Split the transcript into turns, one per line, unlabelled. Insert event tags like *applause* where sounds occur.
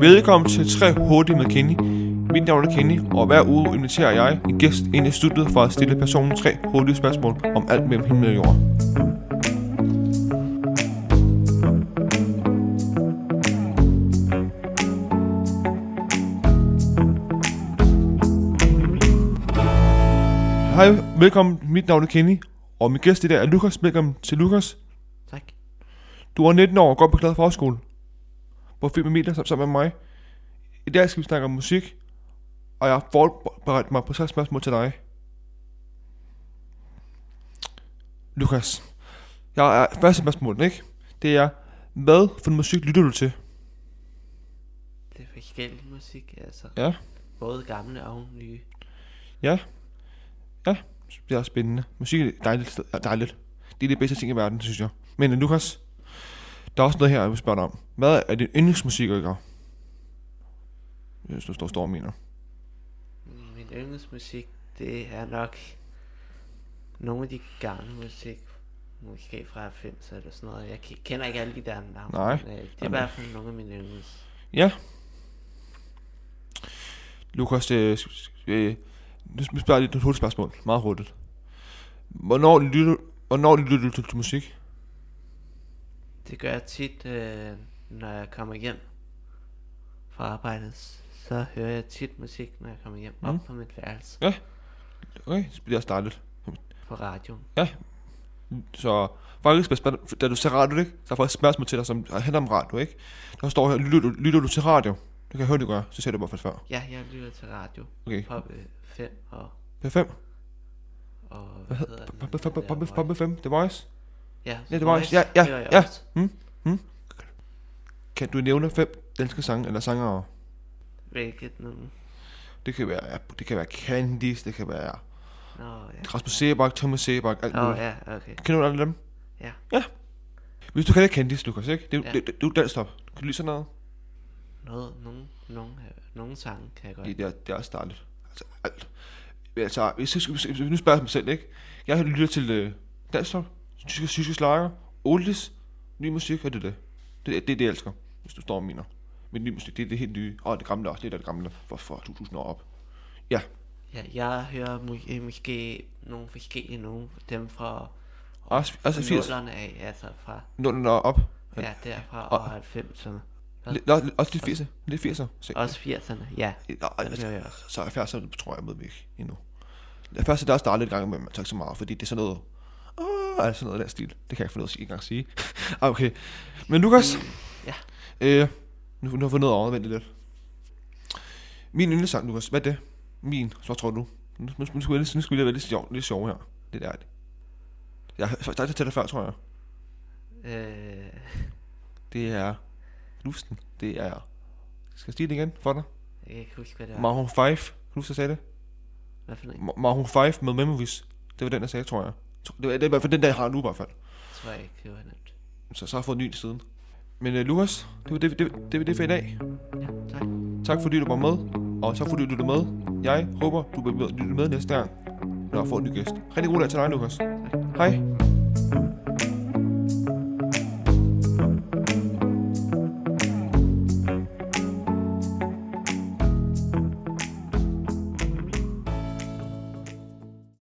Velkommen til 3 hurtigt med Kenny. Mit navn er Kenny, og hver uge inviterer jeg en gæst ind i studiet for at stille personen tre hurtige spørgsmål om alt mellem himmel og jord. Hej, velkommen. Mit navn er Kenny, og min gæst i dag er Lukas. Velkommen til Lukas.
Tak.
Du er 19 år og går på glad forskole. På film og medier sam- sammen med mig. I dag skal vi snakke om musik, og jeg har forberedt mig på tre spørgsmål til dig. Lukas, jeg er første spørgsmål, ikke? Det er, hvad for en musik lytter du til?
Det er forskellig musik, altså.
Ja.
Både gamle og nye.
Det er spændende. Musik er dejligt. sted- er dejligt. Det er det bedste ting i verden, synes jeg. Men øh, Lukas, der er også noget her, jeg vil spørge dig om. Hvad er din yndlingsmusiker? Hvis du står står og mener.
Min yndlingsmusik, det er nok nogle af de gamle musik. Måske fra 90'erne eller sådan noget. Jeg ke- kender ikke alle de der navne.
Nej.
men, øh, det er i
Jamen.
hvert fald nogle af mine yndlings.
Lukas, øh, øh, nu sp- spørger jeg lidt et hurtigt spørgsmål. Meget hurtigt. Hvornår lytter, hvornår lytter du til, til musik?
Det gør jeg tit, øh, når jeg kommer hjem fra arbejdet. s- Så hører jeg tit musik, når jeg kommer hjem op
Mm.
på mit værelse
Okay, så bliver jeg startet.
på radioen.
Så faktisk, hvis man- da du ser radio, ikke? Så er faktisk et spørgsmål til dig, som handler om radio, ikke? Der står her, lytter du, lytter du til radio? Det kan jeg høre, du gør. Så ser du bare for før.
Ja, jeg lytter til radio
Okay.
på øh, 5 og,
P5.
og
Hvad
hedder
hedder
den?
Pop- pop-
Den
pop-
der
pop-
Voice.
pop- pop- The Voice.
Ja,
Ja,
så
The Voice. Ja, ja,
hører jeg
ja.
også.
Kan du nævne fem danske sange eller sangere?
Hvilket nogen?
Det kan være, det kan være Candice, det kan være
Nå, ja.
Rasmus Sebak, Thomas Sebak, alt
Nå,
muligt.
ja, okay.
Kender du alle dem?
Ja.
Ja. Hvis du kender Candice, Lukas, ikke? Det,
Ja.
ja. det, det, det er jo dansk top. Kan du lide sådan noget?
Noget, nogen, nogen, nogen sange kan jeg godt.
Det, det, er, det er også dejligt. Altså, alt. Altså, hvis jeg, hvis, hvis, hvis, nu spørger jeg mig selv, ikke? Jeg lytter til øh, dansk top, tyske, tyske slager, oldies, ny musik, og det er det. Det er det, er det, jeg elsker, hvis du står og mener. Men ny musik, det er det helt nye. Og det gamle også, det er det gamle for, for 2000 år op.
Ja, jeg hører mu- øh, måske nogle forskellige nogen, dem fra
Også, også 80.
nullerne af, altså fra,
0'erne og op.
ja, derfra
Og-
og 90'erne.
Lidt, nå, også lidt 80'er. Lidt 80'er. Så,
Også 80'erne, ja,
Nå,
det hører jeg altså. også.
altså, så er 70'erne, tror jeg, med væk endnu. Det første, der er startet lidt gang med, man tager ikke så meget, fordi det er sådan noget... Åh, altså sådan noget af den stil. Det kan jeg ikke få noget at sige, ikke engang sige. *laughs* Ah, okay. Men Lukas...
Ja.
Øh, nu, nu har jeg fundet noget overvendt lidt. Min yndlingssang, Lukas, hvad er det? Min, så tror du. Nu, nu, nu, skulle jeg, lige- nu skulle jeg lige være lidt sjov, lidt sjov her. Det der. Jeg har sagt det til dig før, tror jeg.
Øh,
Det er... Lusten. Det er... Skal jeg sige det igen for dig?
jeg kan ikke huske, hvad det
Ja.
var.
Maroon 5. Kan du huske, jeg sagde det?
Hvad for en?
Ma- Maroon 5 med Memories. Det var den, jeg sagde, tror jeg. Tro- Det var, det var i hvert fald den, der jeg har nu i hvert fald.
Tror jeg ikke, det var nemt.
Så, så har jeg fået en ny siden. Men uh, Lukas, det var det, det, det, var det for i dag.
Ja, tak.
Tak fordi du var med, og tak fordi du lyttede med. Jeg håber, du vil lytte med næste gang, når jeg får en ny gæst. Rigtig god dag til dig, Lukas. Hej.